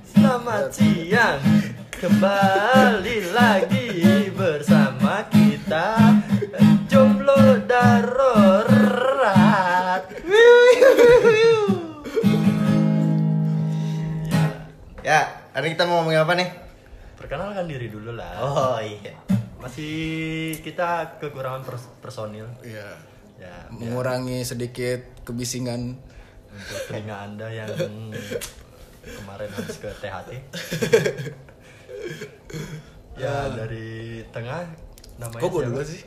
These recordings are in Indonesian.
Selamat siang Kembali lagi bersama kita Jomblo Darorat Ya, Ya, hari kita mau ngomongin apa nih? Perkenalkan diri dulu lah Oh iya. Masih kita kekurangan pers- personil Iya. Ya, biar Mengurangi sedikit kebisingan. untuk telinga anda yang kemarin habis ke THT ya dari tengah namanya Ah. Kok gua siapa? dulu sih?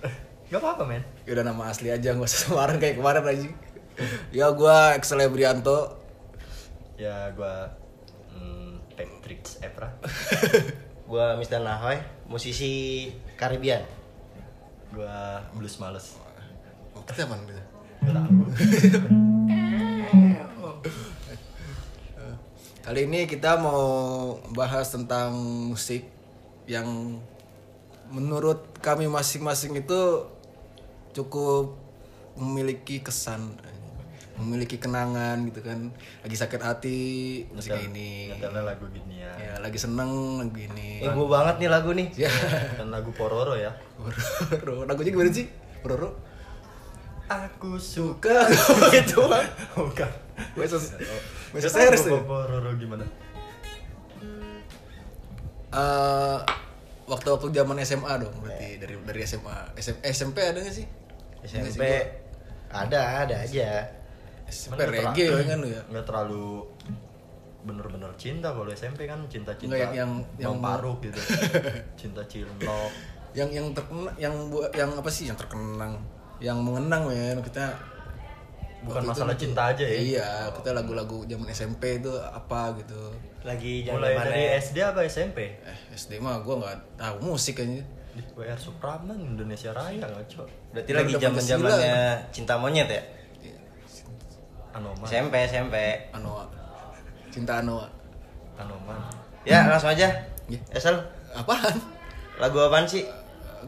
Gak apa-apa men Ya udah nama asli aja nggak usah semaran kayak kemarin aja. ya gua Excel Brianto. ya gua hmm, Patrick Evra Gua Mr. Nahoy, musisi Karibian. gua blues males Oh, kita mana kita? Gak tahu Kali ini kita mau bahas tentang musik yang menurut kami masing-masing itu cukup memiliki kesan, memiliki kenangan gitu kan. Lagi sakit hati musik kayak ini. nyetelnya lagu gini ya Ya, lagi seneng lagu ini. Eh, gua banget nih lagu nih. Ya. kan lagu Pororo ya Bororo. Lagunya gimana sih? Bororo. aku suka Suka gitu. bukan Mesos. Mesos Gak tahu Eres gua tuh. ya? Pororo gimana Eh, waktu-waktu zaman SMA dong Iya. berarti dari dari SMA. SM, SMP ada gak sih? SMP. Ada, ada aja. SMP Cuman nggak reggae terlalu- kan lu ya. nggak terlalu bener-bener cinta kalau SMP kan cinta-cinta Nggak, yang- yang- yang- Bang paruk gitu cinta cilok Yang yang terkenang yang buat yang apa sih yang terkenang? Yang mengenang men kita bukan waktu itu masalah lagu- cinta aja ya Iya, kita lagu-lagu zaman SMP itu apa gitu. Lagi mulai zaman dari SD apa SMP Eh, SD mah gua nggak tahu musik kayaknya. di WR Supraman Indonesia Raya ngaco Berarti Udah lagi udah zaman-zamannya kan? cinta monyet ya? Anoman SMP, SMP. Hmm. Anoa. Cinta Anoa. Anoman Ya, langsung aja. Iya. Esel, Apaan? lagu apaan sih?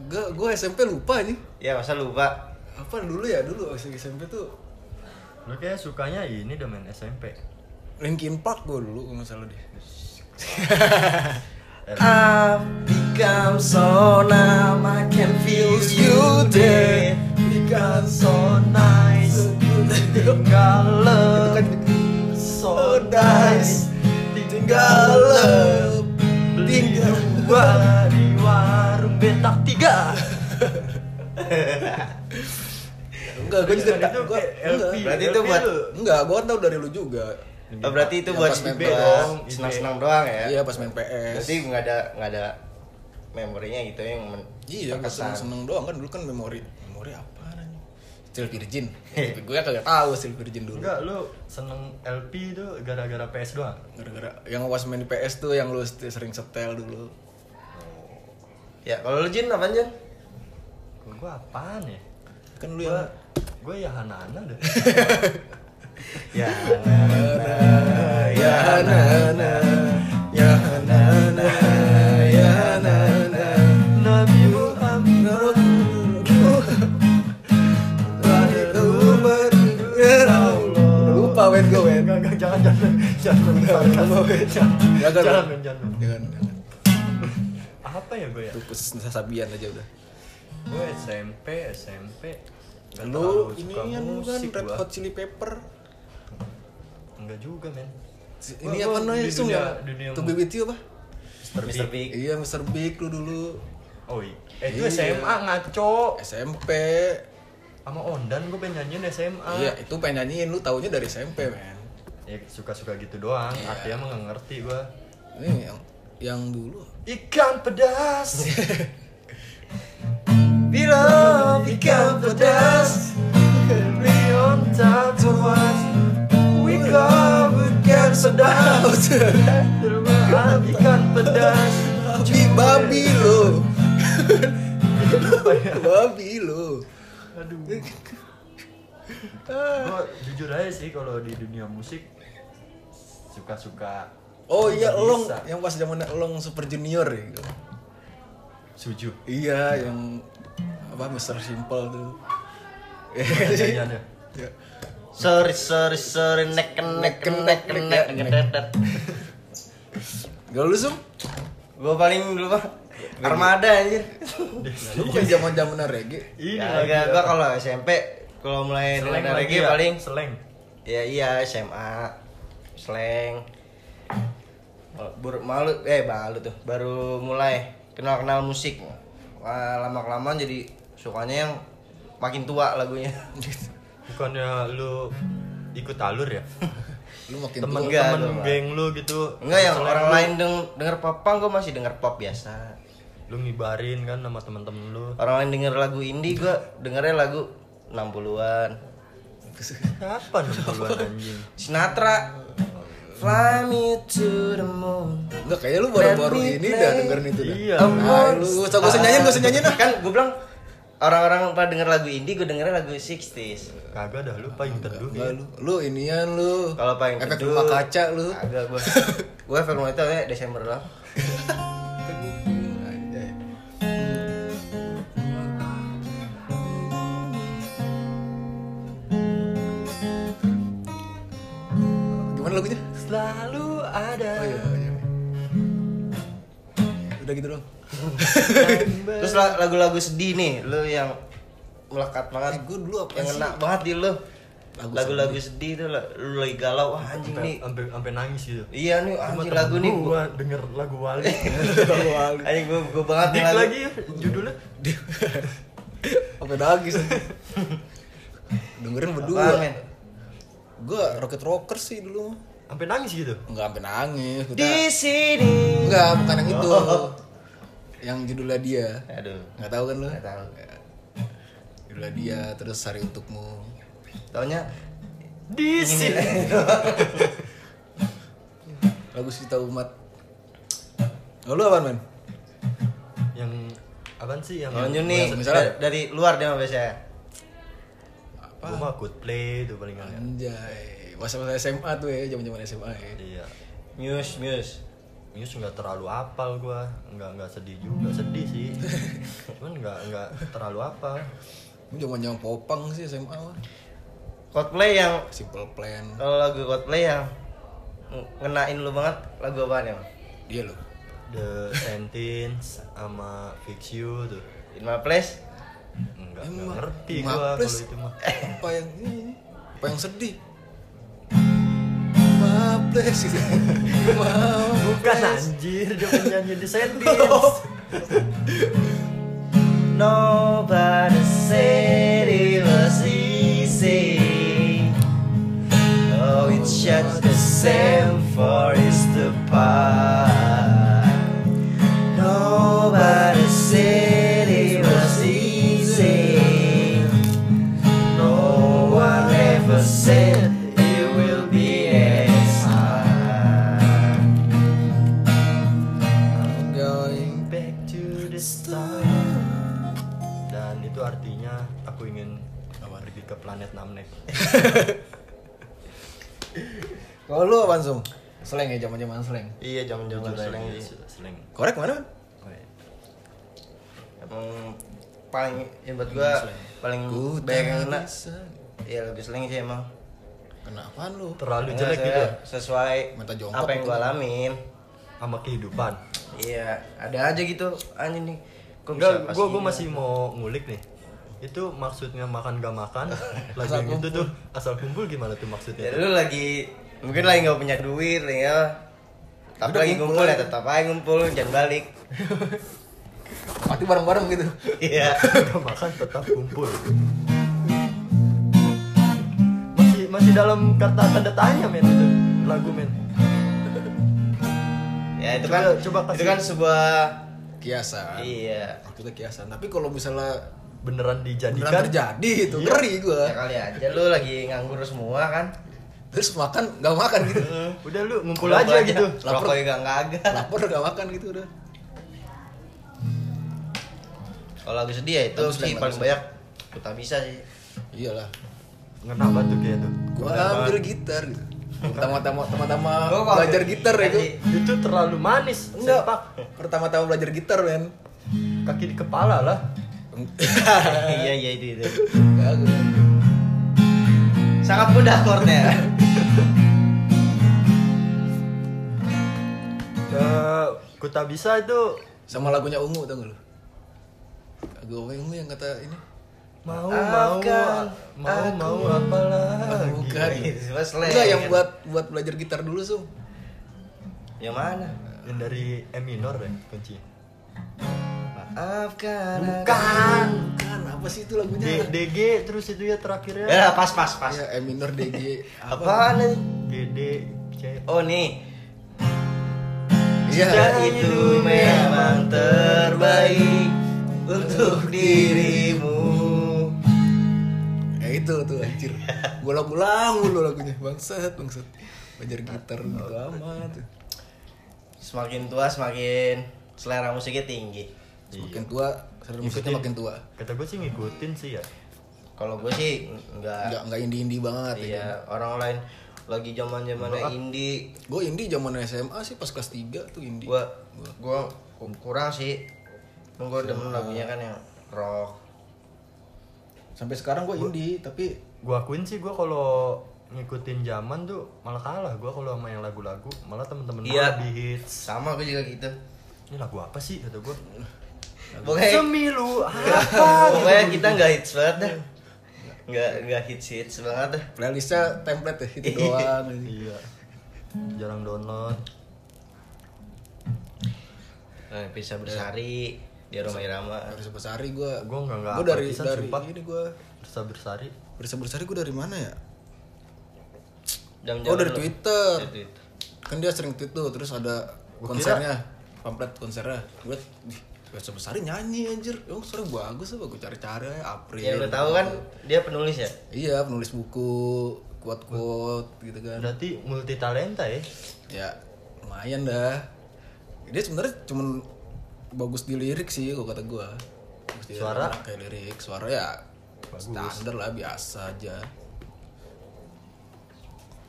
Gue gue SMP lupa nih. Ya, masa lupa? Apa dulu ya dulu waktu SMP tuh lu kayak sukanya ini deh men SMP Linkin Park gue dulu kalau nggak salah deh. I've become so now I can feel you there. Become so nice Tinggal Itu kan So nice. Tinggal Beli dua di warung betak tiga enggak gue juga Itu tak kayak gue LP, Berarti LP itu buat- lu. enggak gue tahu dari lu juga. Oh, berarti itu Yang buat pas main buat dong, ide. senang-senang doang ya? Iya pas main PS. Berarti nggak ada nggak ada memorinya gitu yang men- Iya gue terkesan. seneng seneng doang kan dulu kan memori memori apa nanya? Steel Virgin. Tapi gue kagak tahu Steel Virgin dulu. Enggak, lu seneng LP itu gara-gara PS doang Gara-gara yang was main di PS tuh yang lu st- sering setel dulu. Ya kalau lu Jin apaan Jin? Gua, gua apaan ya? Kan lu Gua, yang gua ya Hanana deh Ya. ya na na ya na na ya na na Nabi Muhammad Dari Umar lupa wet gue wet Enggak, enggak, jangan, jangan Jangan, jangan, jangan Jangan, Jangan, Bang. jangan jangan jangan Apa ya gua ya? tuh khusus Nusa Sabian aja udah Gue SMP, SMP Nggak lu terlalu ini suka kan lu kan musik Red gua. Hot Chili Pepper Enggak juga men Si- Gua- ini gua apa namanya di sum dunia- ya dunia to be with you apa Mr. Big. iya Mr. Big lu dulu Oh iya Eh itu Iya. SMA ngaco SMP Sama Ondan gue pengen nyanyiin SMA iya itu pengen nyanyiin lu taunya dari SMP men Ya suka-suka gitu doang Iya. Artinya emang nggak ngerti gua ini yang yang dulu Ikan pedas Bila Ikan pedas Beyond tatuan We come ikan pedas Termaaf ikan pedas babi babi lu Apa ya? babi lu Ah. Aduh. Gua jujur aja sih kalau di dunia musik suka-suka oh iya Nggak elong bisa. yang pas zaman elong super junior ya suju. iya yang apa Mr. Simple tuh Nyanyiannya. Ya. Sorry sorry sorry nek nek nek nek nek nek nek Gak Kalau lu sum? Gue paling dulu mah Armada anjir. Lu bukan zaman zaman reggae. Ini Ya, lagi gua kalau SMP kalau mulai seleng dengar lagi reggae ya? paling seleng. ya iya SMA slang baru malu eh malu tuh baru mulai kenal kenal musik lama kelamaan jadi sukanya yang makin tua lagunya Bukannya lu ikut alur ya? Lu makin tua. Enggak, lu, Temen-temen Bang. geng lu gitu. enggak yang seleng orang lu- lain deng denger popang gue masih denger pop biasa Lu ngibarin kan sama temen-temen lu. orang lain denger lagu indie gue dengernya lagu 60-an Kapan lu anjing? Sinatra Fly me to the moon Enggak kayak lu baru-baru Let me ini play. dah dengerin itu dah. Iya. Ah, lu gak usah gak usah nyanyiin, gak usah nyanyiin ah. kan gue bilang orang-orang pada denger lagu indie gue dengerin lagu 60s Kagak dah lu paling teduh Enggak ya. lu, lu inian lu. kalau paling efek teduh, rumah kaca lu. agak gue gue efek rumah itu ya Desember lah Anjay. Gimana lagunya? Selalu ada. Oh iya, iya. Udah gitu dong. terus la- lagu-lagu sedih nih lu yang melekat banget Eh, gua dulu apa yang sih? enak banget di lu Lagu lagu-lagu sedih tuh lah lu lagi galau wah anjing nih Sampai sampai- sampai nangis gitu. iya nih Sama anjing temen lagu nih gua- gua denger lagu Wali. anjing gue gue banget nih Dik lagu lagi judulnya. Apa lagi sih? Apaan, Dengerin ya? berdua. men? Gua rocket rocker sih dulu. Sampai nangis gitu. Enggak sampai nangis. kita- di sini Enggak, bukan yang itu. Yang judulnya dia. aduh Enggak tahu kan lu? nggak tahu Judulnya dia terus hari untukmu. taunya Di sini. Lagu Sita Umat. Lalu apa, Men? Yang apaan sih yang Kalau nih misalnya- da- dari luar dia mah biasanya. Gua mah good play itu paling enggak. Anjay. Masa-masa SMA tuh ya, zaman-zaman SMA ya. Iya. Muse, Muse. Muse nggak terlalu apal gua, nggak nggak sedih juga, sedih sih. Cuman nggak nggak terlalu apal. Ini zaman-zaman popang sih SMA. mah. Coldplay yang Simple Plan. kalau lagu Coldplay yang ng- ngenain lu banget lagu apaan ya? Bang? Dia Iya, loh. The Sentence sama Fix You tuh. In My Place. Enggak, Emang, ngerti maaf, gua kalau Pres. itu mah. Apa yang ini? Apa yang sedih? Maaf, please. Maaf. Bukan anjir, dia penyanyi The Sentence. Nobody said it was easy. Oh, it's just the same for is the part. Nobody said it was easy. No one ever said it will be as hard. I'm going Back to the start. Dan itu artinya aku ingin pergi ke planet Namnek. Kalau lu apaan Sung? Slang ya, zaman-zaman slang. Iya, jangan-jangan Slang. Korek mana? emang paling ya buat gua paling banyak yang kena ya lebih slang sih emang Kena apaan lu? Terlalu jelek Enggak, Iya, saya gitu ya, sesuai Mata jongkok apa yang gua gitu. alamin sama kehidupan. iya ada aja gitu anjing nih kok bisa Enggak, pas gua gua gini? masih mau ngulik nih. Itu maksudnya makan gak makan, lagu Asal yang itu tuh asal kumpul gimana tuh ya maksudnya? lu lagi mungkin lagi nggak punya duit lagi apa. tapi lagi ngumpul ya tetap aja ngumpul jangan balik Mati bareng-bareng gitu. iya Gak makan tetap kumpul. Masih masih dalam kata tanda tanya men itu lagu men. ya itu Coba- kan coba kasih. Ah. itu kan sebuah Kiasan. iya Maksudnya kiasan. Tapi kalau misalnya Beneran beneran dijadikan terjadi itu Iya. ngeri gua. ya kali aja lu lagi nganggur semua kan Terus makan nggak makan gitu. Udah lu ngumpul aja gitu. Lapar. rokok juga nggak ada Lapar nggak makan gitu udah. Kalau lagu sedih ya itu Lagu sedih, sih lagu paling sedih. banyak kita bisa sih. Iyalah. Ngena banget tuh kayak tuh. Gua Ngena ambil banget. gitar gitu. Pertama-tama pertama Gua kok belajar ambil gitar ya gitar gua. sih. Ah, Itu terlalu manis. Enggak. Sepak Pertama-tama belajar gitar, men. kaki di kepala lah. Iya iya itu itu. Nggak, gua. Sangat mudah chordnya. Da, Ku tak Eh, bisa itu Sama lagunya Ungu tau gak lu? Lagu apa Ungu yang kata ini? mau Maafkan mau mau mau Ah, apalah. bukan. Itu mah slang. Enggak yang buat buat belajar gitar dulu, Sum. Yang Ya mana? Yang dari E minor ya kunci. Maafkan. Bukan. Bukan, apa sih itu D lagunya? DG terus itu ya terakhirnya. Ya, pas pas pas. Iya. Ya, E minor DG. Apaan ini? GD C. Oh nih. Iya. Dan itu memang terbaik untuk dirimu. Ya itu tuh anjir. Gua ulang mulu lagunya. Bangsat, bangsat. Belajar gitar gitu amat. Semakin tua semakin selera musiknya tinggi. Semakin tua, selera musiknya makin tua. Kata gue sih ngikutin sih ya. Kalau gue sih enggak. Enggak enggak indie-indie banget ya. Iya, orang lain lagi zaman zamannya indie. Gue indie zaman SMA sih pas kelas 3 tuh indie. Gua gua ku- kurang sih. Emang Gua demen lagunya kan yang rock. Sampai sekarang gue indie, tapi Gue akuin sih gue kalau ngikutin zaman tuh malah kalah gue kalau sama yang lagu-lagu malah temen-temen gue Iya. lebih hits Sama gue juga gitu. ini lagu apa sih kata gue Pokoknya semilu Pokoknya kita nggak hits banget dah. Nggak nggak hits hits banget dah. playlistnya template ya, itu doang. iya jarang download Nah, bisa bersari di rumah Irama. Harus bersari gue. Gua nggak- nggak Gue dari hafal pisan, dari sumpah. ini gue. Bersa bersari Bersa bersari gue dari mana ya? Jam Iya, Oh dari Twitter. Dari Twitter. Kan dia sering tweet tuh, terus ada Gua konsernya, pamflet konsernya. Gue Bersa bersari nyanyi anjir. Emang suara bagus apa? Gue cari-cari April. Iya, Ya udah tahu kan dia penulis ya. Iya penulis buku, quote-quote gitu kan. berarti multi talenta ya ya lumayan dah dia sebenarnya cuman bagus di lirik sih kalau kata gua bagus di Suara? lirik, kayak lirik suara ya standar lah biasa aja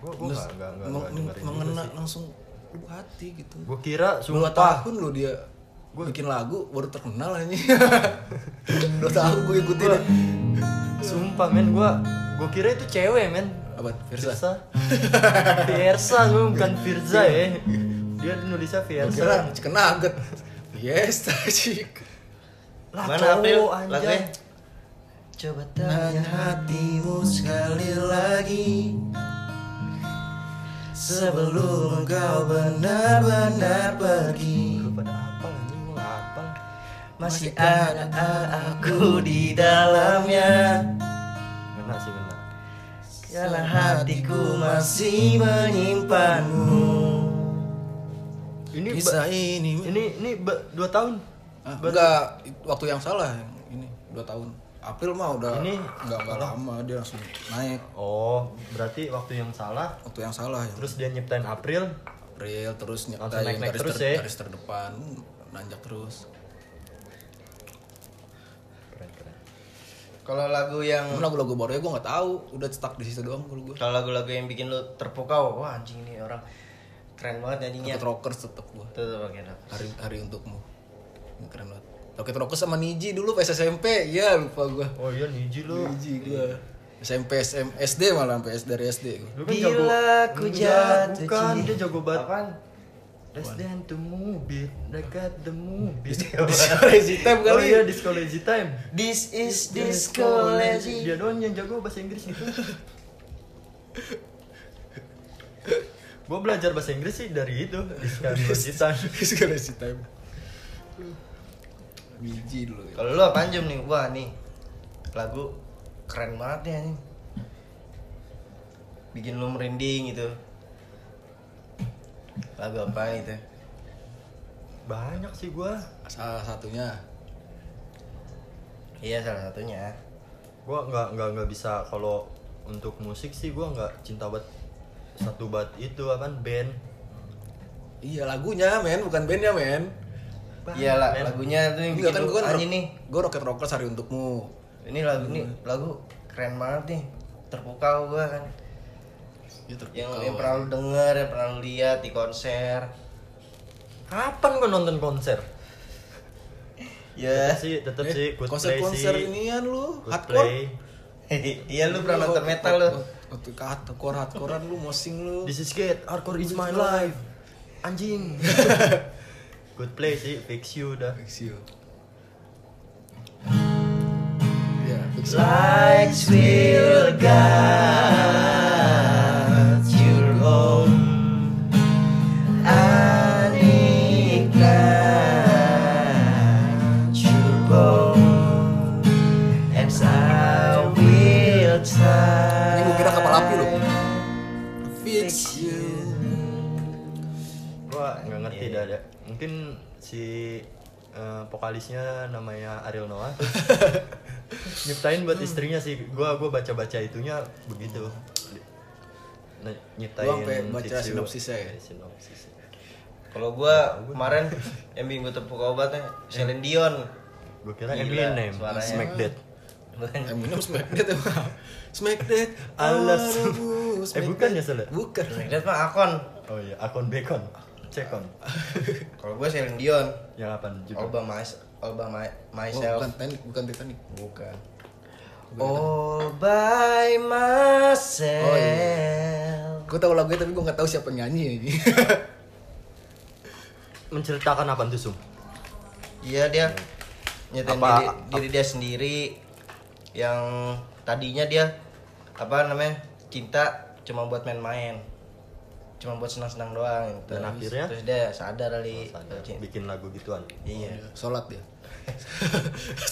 gue gue Oh, nggak nggak nggak Meng- nggak dengerin mengena langsung ke hati gitu gue kira dua sumpah tahun lo dia bikin lagu baru terkenal aja dua tahun gue ikutin sumpah men gue gue kira itu cewek men abad Firza Firza Firza gua bukan Firza ya dia nulisnya Firza Gua kira chicken nugget yes tajik Lah, cowok, Mana April anjay. lagunya? Coba tanya hatimu sekali lagi Sebelum engkau benar-benar pergi lu pada apa anjing gua nggak apa Masih ada aku di dalamnya ngena sih ngena Karena hatiku masih menyimpanmu ini ba- bisa ini ini ini ba- dua tahun Ah, enggak, it- waktu yang salah yang ini dua tahun. April mah udah Ini? enggak enggak lama dia langsung naik. oh berarti waktu yang salah Waktu yang salah yang terus dia nyiptain April April terus nyata Langsung yang naik-naik garis, terus ter- ya. garis terdepan hmm, nanjak terus. keren keren Kalau lagu yang Hmm. Cuman lagu-lagu baru ya gue nggak tahu, udah stuck di situ doang kalau gue. Kalau lagu-lagu yang bikin lu terpukau Wah anjing ini orang keren banget Iya. nyanyinya Rocket Rockers tetep gue. Tuh, tuh pakai rap. Hari hari untukmu. Ini Keren banget. Rocket Rockers sama Niji dulu pas SMP, ya lupa gue. oh iya Niji lu Niji gue. SMP SM, SD malah sampai SD dari SD gue. lu Bila ku Enggak, jatuh bukan cinta. dia jago banget Apaan? Let's dance to movie, dekat the movie. Crazy time Oh iya, kali. disco lazy time. This is disco Dia lazy. doang yang jago bahasa Inggris gitu. gue belajar bahasa Inggris sih dari itu disco lazy time. Segala si time. Niji dulu. ya. Kalau lu apaan jam nih? Wah nih lagu keren banget nih anjing. Bikin lu merinding gitu. Lagu apa gitu? Banyak sih gue. Salah satunya Iya salah satunya. Gue nggak nggak nggak bisa kalau untuk musik sih gue nggak cinta banget satu bat itu apaan band. Iya lagunya men, bukan bandnya men Iya lah Band. lagunya tuh yang Enggak bikin kan lu gue anjing nih. Gue Rocket Rockers hari untukmu Ini lagu nih lagu keren banget nih. Terpukau gua kan. Ya Yang, yang pernah lu denger, yang pernah lu lihat di konser. Kapan gue nonton konser? Eh, Iya. Ya. sih tetep sih good play Konser-konser sih. inian lu Good Hardcore play. Iya lu pernah nonton metal lu. Waktu ke hardcore hardcorean lu mosing lu This is Kate, hardcore is my life. Anjing. Good play sih, fix you udah. Fix you. Ya, fix you. Lights will guide you home. I need guide you home. And I will try. Ini gua kira kapal api loh. Fix you. Gua nggak Iya, ngerti dah ada. Mungkin si eh, vokalisnya namanya Ariel Noah. nyiptain buat istrinya sih. Gua gua baca-baca itunya begitu. Nah, nyiptain Gua sampai baca fix you. sinopsisnya ya. Eh, sinopsisnya. Kalau gua kemarin yang bingung gua tepuk obatnya Celine Dion. Gua kira Gila, Eminem, suaranya. Smack That. Bukan. Eminem smack that emang Smack that Alas. Arabu, Eh, smack bukan ya, that. Sule? Bukan Magnet mah akon. Oh iya, akun Bacon. Cekon. Kalau gua Celine Dion, Yang apa? Juga. All by my- all by my- Oh, myself. bukan Titanic, bukan Titanic Bukan. All by myself. Oh, iya. Gue tau lagunya tapi gue gak tau siapa yang nyanyi ya ini Menceritakan apa tuh, Sum? Iya dia nyetain Apa- diri, diri dia sendiri yang tadinya dia apa namanya cinta cuma buat main-main, cuma buat senang-senang doang. Gitu. Dan akhirnya? Oh, terus dia sadar kali. Sadar, cinta. bikin lagu gituan. Oh, Iya. Sholat dia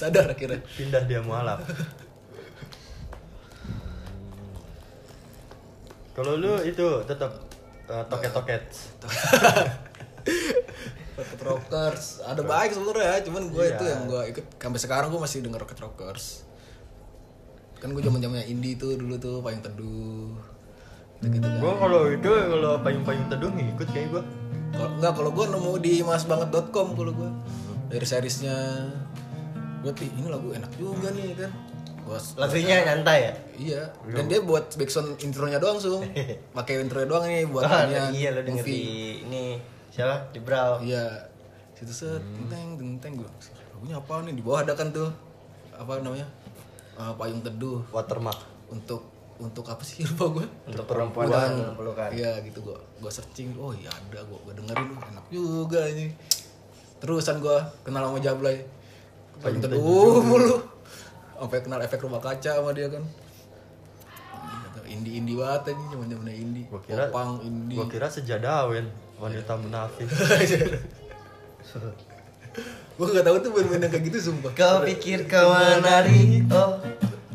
Sadar akhirnya Pindah dia mualaf. Kalau lu itu tetap eh, toket-toket. Rocket Rockers Ada baik sebenernya Cuman gue Iya. itu yang gue ikut Sampai sekarang gue masih denger Rocket Rockers Kan gue zaman zamannya indie tuh dulu tuh Payung Teduh Gitu-gitu kan Gua kalau itu kalau payung-payung teduh ngikut kayak gua. Kalau- Enggak, kalau gue nemu di masbanget.com kalau gue Dari seriesnya Gue ini lagu enak juga nih kan Gua s- Lagunya nyantai ya. Iya, dan dia buat backsound intronya doang, Sung Pakai intronya doang ini buat Oh, inian iya lo denger di ini siapa? Di Brawl. Iya. Situ set teng teng teng gue. Lagunya apa nih? Di bawah ada kan tuh apa namanya? Eh, payung teduh Watermark. untuk untuk apa sih lupa gue? Untuk perempuan dalam kan. pelukan. Iya gitu gua gua searching, oh iya ada gua gua dengerin oh, enak juga ini. Terusan gua kenal sama Jablay. Paling teduh mulu. Sampai kenal efek rumah kaca sama dia kan. Indi indi banget ini cuma cuma indi. Gua kira Popang indi. Gua kira sejadawen wanita munafik. Gua gak tahu tuh bener-bener kayak gitu sumpah. Kau pikir kau menari, oh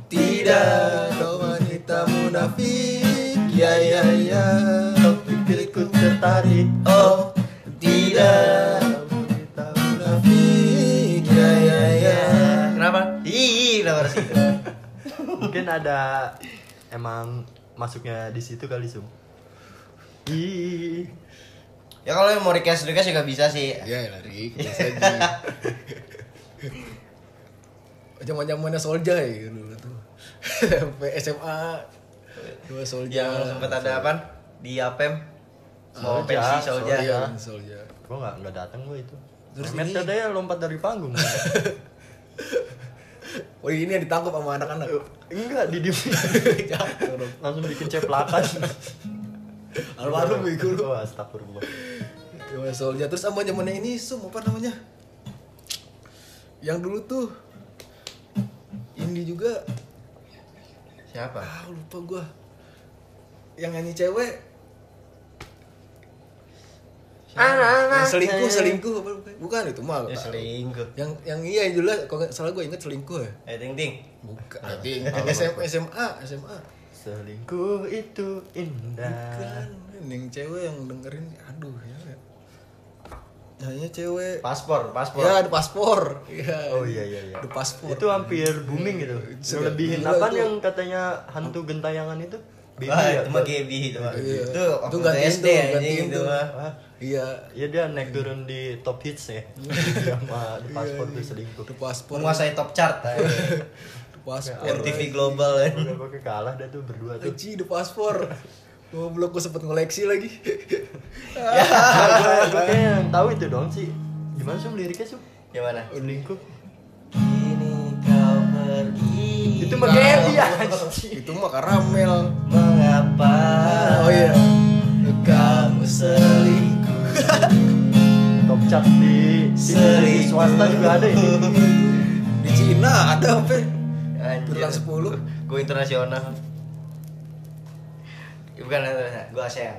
Tidak, kau wanita munafik. Ya ya ya. Kau pikirku tertarik. oh tidak. Wanita Munafik. Ya ya ya. Kenapa? Iya. Ih, kenapa harus itu? Mungkin ada emang masuknya di situ kali sum. Ih, Ya kalau mau request request juga bisa sih. Ya lari, biasa aja. Zaman zamannya Solja ya dulu tuh. Sampai SMA dua Solja. Yang sempat ada apa? Di Apem. Soulja, Mau pensi Soulja. Soulja. Iya, Solja. gua nggak nggak datang gua itu. Terus Terus Mehmet ini- Dadaya lompat dari panggung. Oh ini yang ditangkap sama anak-anak. Enggak, di Jatuh dong. langsung bikin ceplakan. Almarhum bego lu. Wah, astagfirullah. Dua Solja. Terus sama zamannya ini sum apa namanya? Yang dulu tuh Indi juga Siapa? ah lupa gua. Yang nyanyi cewek yang selingkuh selingkuh apa bukan? Bukan itu mah. Ya selingkuh. yang yang iya yang jelas kalau nggak salah gue inget selingkuh ya Eh ting ting. bukan SMA SMA SMA Selingkuh itu indah. kan yang cewek yang dengerin aduh ya hanya cewek Paspor, paspor. ya ada paspor ya Oh iya iya iya. ada paspor Iya. Itu hampir booming gitu. Sudah. Lebihin Gila, Ah, apa itu. yang katanya hantu gentayangan itu? Baby Wah, ya? itu mah Gaby itu mah. Iya. Itu waktu Itu gantiin SD tuh, anjing gitu. gantiin itu tuh. mah. Wah, iya Ya dia naik turun di top hits ya. Sama di paspor tuh selingkuh. ada paspor Menguasai top chart. eh. ada paspor MTV Global. eh. Gua pakai kalah dah tuh berdua tuh. Aji ada paspor Goblok gue sempet ngoleksi lagi Iya. Gua gua kayaknya yang tahu itu dong sih. Gimana sih liriknya sih? Gimana? Selingkuh. Kini kau pergi. Itu mah Gaby ya. Iya. Itu mah karamel Mengapa? Oh iya Kamu selingkuh. Top cat di di Selingkuh. swasta juga ada ini di Cina ada apa Anjir. Urutan 10. Gue internasional. Bukan internasional, gue ASEAN.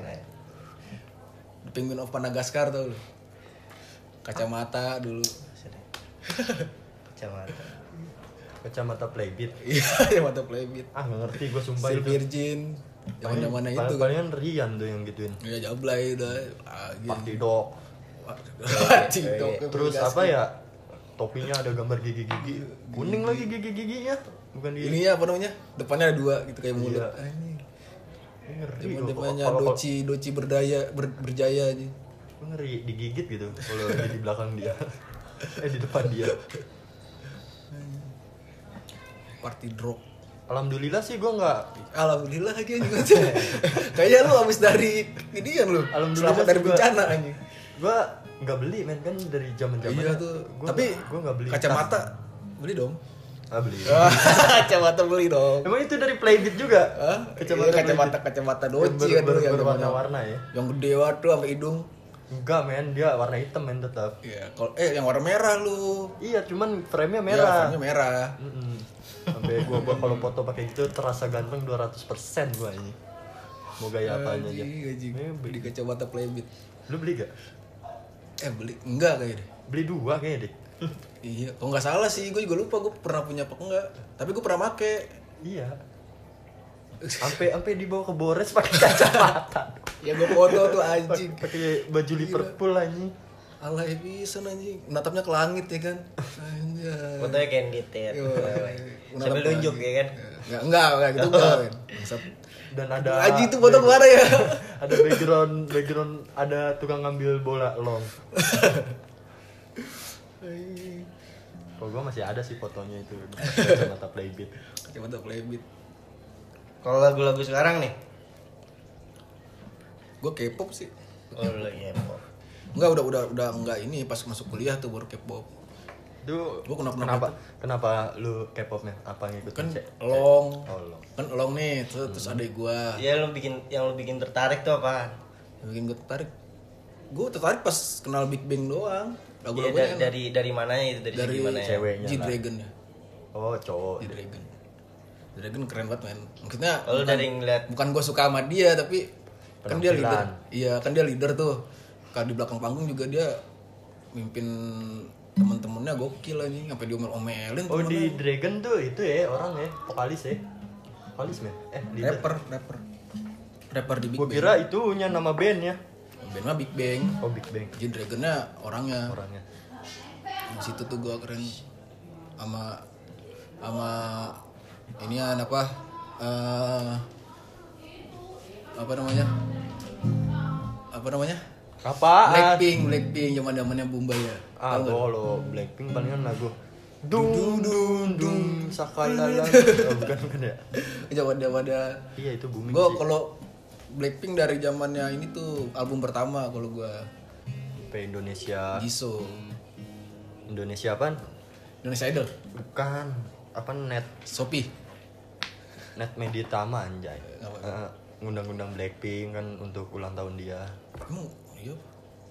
The Penguin of Madagascar tau lu kacamata dulu Kacamata. kacamata playbit iya yang mata playbit ah nggak ngerti gue sumpah Sir itu Virgin yang mana mana itu Paling- kan palingan Rian tuh yang gituin ya jablay udah Ah, gitu. lagi pak Dido TikTok Eh, terus apa ya topinya ada gambar gigi gigi kuning lagi gigi giginya bukan di ini ya apa namanya depannya ada dua gitu kayak mulut Iya. Anjing. Ini ngeri depan gua. depannya Kalau- kalau- doci doci berdaya ber- berjaya aja Gue ngeri digigit gitu kalau dia di belakang dia. eh di depan dia. party drop Alhamdulillah sih gue nggak alhamdulillah lagi anjing kayaknya lu abis dari ini yang lu Alhamdulillah selamat dari juga. bencana anjing gue nggak beli men kan dari zaman zaman. iya tuh Gua tapi nggak- gua nggak beli kacamata beli dong tas. Ah beli. kacamata beli dong Emang itu dari Playbit juga? Hah? Kacamata Playbit. kacamata kacamata Iya, Yang doci ber- kan ber- dulu yang warna berwarna-warna ya. yang gede banget tuh sampai hidung Enggak men, dia warna hitam men tetap. Iya, kalau eh yang warna merah lu. Iya, cuman frame-nya Iya, merah. warnanya merah. Mm-mm. Sampai gua gua kalau foto pakai gitu terasa ganteng 200% gua ini. Mau gaya apanya aja. Anjing, anjing. Eh, beli. Beli kacamata playbit. Lu beli gak? Eh beli enggak kayaknya deh. Beli dua kayaknya deh. Iya, kalau nggak salah sih, gue juga lupa gue pernah punya apa enggak. Tapi gue pernah make. Iya. Sampai sampai dibawa ke Bores pakai kacamata. Ya gue foto tuh anjing. pakai baju Liverpool anjing. Alay pisan anjing. Natapnya ke langit ya kan. Anjay. Fotonya candid ya. Yo, Sambil natap ke nunjuk langit. ya kan. Enggak, enggak, enggak gitu enggak. Ren. Bangsat. Dan ada Aji itu foto kemana ya? Ada background background ada tukang ngambil bola long. Kalau gua masih ada sih fotonya itu kacamata playbit. Kacamata playbit. Kalau lagu-lagu sekarang nih. Gue K-pop sih. Oh, lu lagi heboh. Enggak, udah udah udah enggak ini pas masuk kuliah tuh baru K-pop. Itu Gua kenapa- kenapa kenapa lu K-pop nya apa ngikutin Kan cek? long. Oh, long. Kan long nih, terus, terus adek gua. Ya lu bikin yang lu bikin tertarik tuh apaan? Yang bikin gue tertarik gue tertarik pas kenal Big Bang doang Ya, lagu-lagunya dari, enak. dari dari mananya itu dari, dari segi mana ya? ceweknya G lah. Dragon ya Oh, cowok. G Dragon G Dragon keren banget men maksudnya Oh, lu dari ngeliat bukan gue suka sama dia tapi kan dia leader Penampilan. iya kan dia leader tuh kalau di belakang panggung juga dia mimpin temen-temennya gokil anjing sampai diomel-omelin Oh, temennya. di Dragon tuh itu ya orang ya, vokalis ya. Vokalis men. Eh, leader. rapper rapper rapper di Big Gue Bang kira itunya nama bandnya. band mah Big Bang Oh Big Bang G Dragonnya orangnya orangnya. di situ tuh gua keren sama sama ini apa eh apa namanya apa namanya Apaan? Blackpink Blackpink zaman zamannya Bumba ya Ah, Tahu nggak? gua kalau Blackpink palingan lagu Dung dung dung Sakai lalang oh, bukan bukan ya. zaman zamannya Iya itu booming gua sih. kalau Blackpink dari zamannya ini tuh album pertama kalau gua Sampai Indonesia. Jisoo Indonesia apaan? Indonesia Idol Bukan. Apa net Shopee net media tama anjay. Apa? Eh, Ngundang-ngundang Blackpink kan untuk ulang tahun dia. emang iya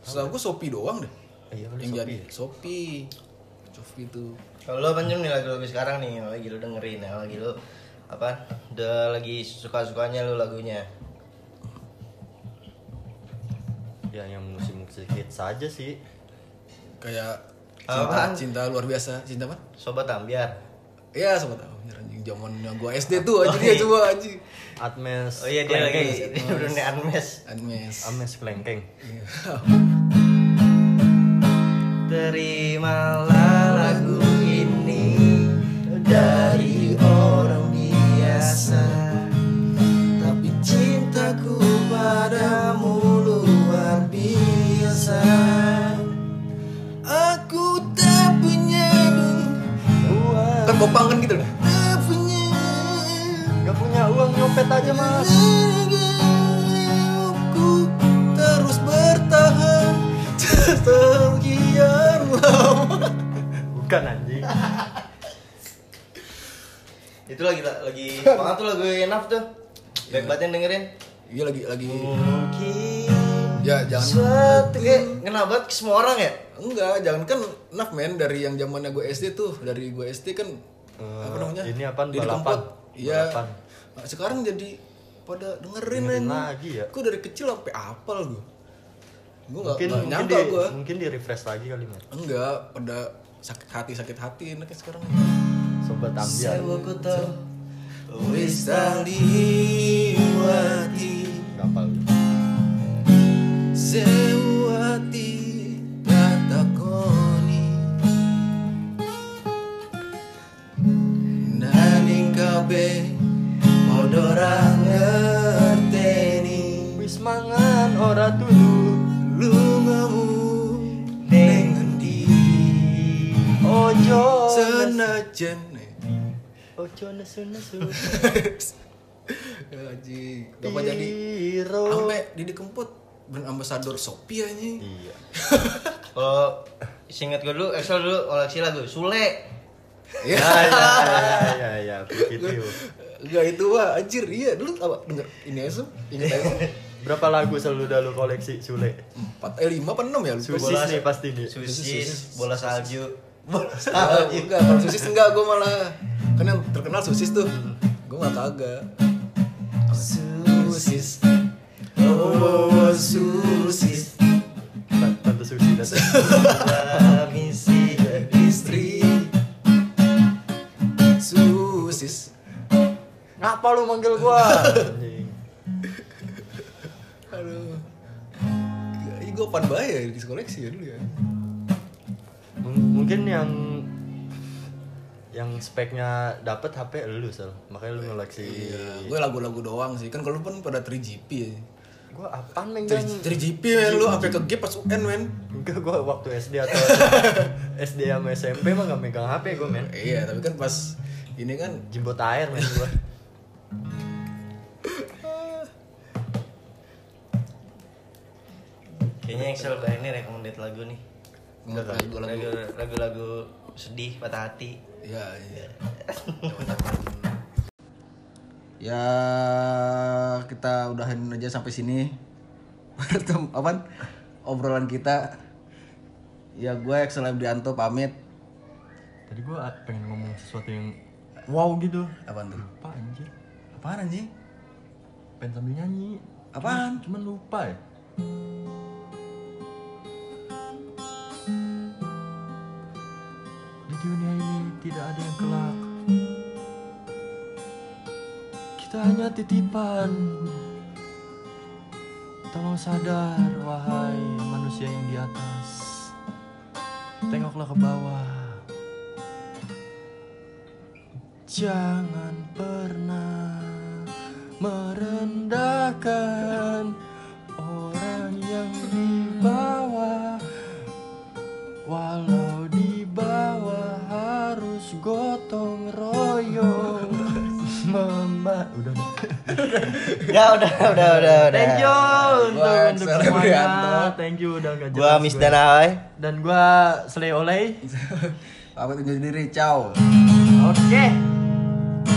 setahu gua Shopee doang deh Iya kali yang jadi Shopee. Shopee Shopee tuh Kalau lu apa Jun, nih lagu-lagu sekarang nih yang lagi lu dengerin yang lagi lu apa? Udah lagi suka-sukanya lu lagunya. Ya yang musik-musik hits saja sih. kayak cinta, Apaan? cinta luar biasa cinta apa Sobat Ambiar. Iya sobat anjir anjing zamannya gua SD tuh anjing dia coba anjing Admes. Oh iya dia Klengkeng. lagi dia udah nih Anmes. Anmes Admes Klengkeng. Iya. Terimalah lagu ini dari orang biasa tapi cintaku padamu luar biasa aku tak punya Uang. kan kopang kan gitu loh tak punya Gak punya uang nyopet aja mas. Aku terus bertahan Tergian lama Bukan anjing. Ah, Itu lagi lagi banget tuh lagu Enough tuh. Baik banget yang dengerin. Iya lagi lagi Mungkin Ya Ya jangan Set, kayak kena eh, banget ke semua orang ya. enggak, jangan kan enough men dari yang zamannya gue SD tuh, dari gue SD kan apa namanya? Eh, ini apaan, Didi balapan. Kempot. Iya. Balapan. Nah, sekarang jadi pada dengerin, Dengerin anjing. lagi ya. Gue dari kecil sampai apal gue. Gue nggak mungkin nggak mungkin nyangka di, gue. mungkin di refresh lagi kali mas Enggak, pada sakit hati sakit hati enaknya sekarang. sobat ambiar gampang Sewati tatakoni Naning kabe Podora ngerteni wis mangan ora tulu Lungamu Neng endi ojo Senajan ojo nesu nesu Haji Gak jadi piro Ampe Didi Kempot Brand Ambassador Shopee anjing iya Kalau singkat gue dulu, Excel dulu koleksi lagu Sule. Iya. ya ya ya ya ya begitu Enggak itu wah anjir iya dulu apa denger ini aja Sum. ingat aja berapa lagu selalu dah lu koleksi Sule empat eh lima apa enam ya lupa Susis Bola- nih pasti nih Susis, bola salju. Bola Ah, salju. enggak kalau sosis enggak gue malah kan yang terkenal sosis tuh gue malah kagak sosis oh sosis Tan- Kan, Tante Susi datang Misi jadi istri sosis Ngapa lu manggil gua? Anjing. aduh Ih, gue pan bahaya di koleksi ya dulu ya Mung- Mungkin yang yang speknya dapet HP lu sel makanya lu ngoleksi gue Iya, lagu-lagu doang sih kan kalau lu kan pada 3GP ya gua apaan meng 3, 3GP men lu sampai ke G pas UN men enggak gua waktu SD atau SD sama SMP mah gak megang HP gua men Iya, tapi kan pas ini kan jembot air men gua Kayaknya Excel gue ini recommended lagu nih. lagu lagu Lagu- Lagu-lagu sedih, patah hati. ya iya. ya kita udahin aja sampai sini pertem apa obrolan kita ya gue Excel Dianto pamit tadi gua pengen ngomong sesuatu yang wow gitu apaan tuh lupa anjir apaan anjing pengen sambil nyanyi Apaan? cuman lupa ya di dunia ini tidak ada yang kelak kita hanya titipan tolong sadar wahai manusia yang di atas tengoklah ke bawah Jangan pernah merendahkan orang yang di bawah Walau di bawah harus gotong royong Mema Udah udah Ya udah, udah, udah, udah. Thank you untuk, Gua untuk Axel Widianto. semuanya Thank you udah gak jelas Gua Miss gue. Danai. Dan gua Slay Olay pamit unjuk diri ciao Oke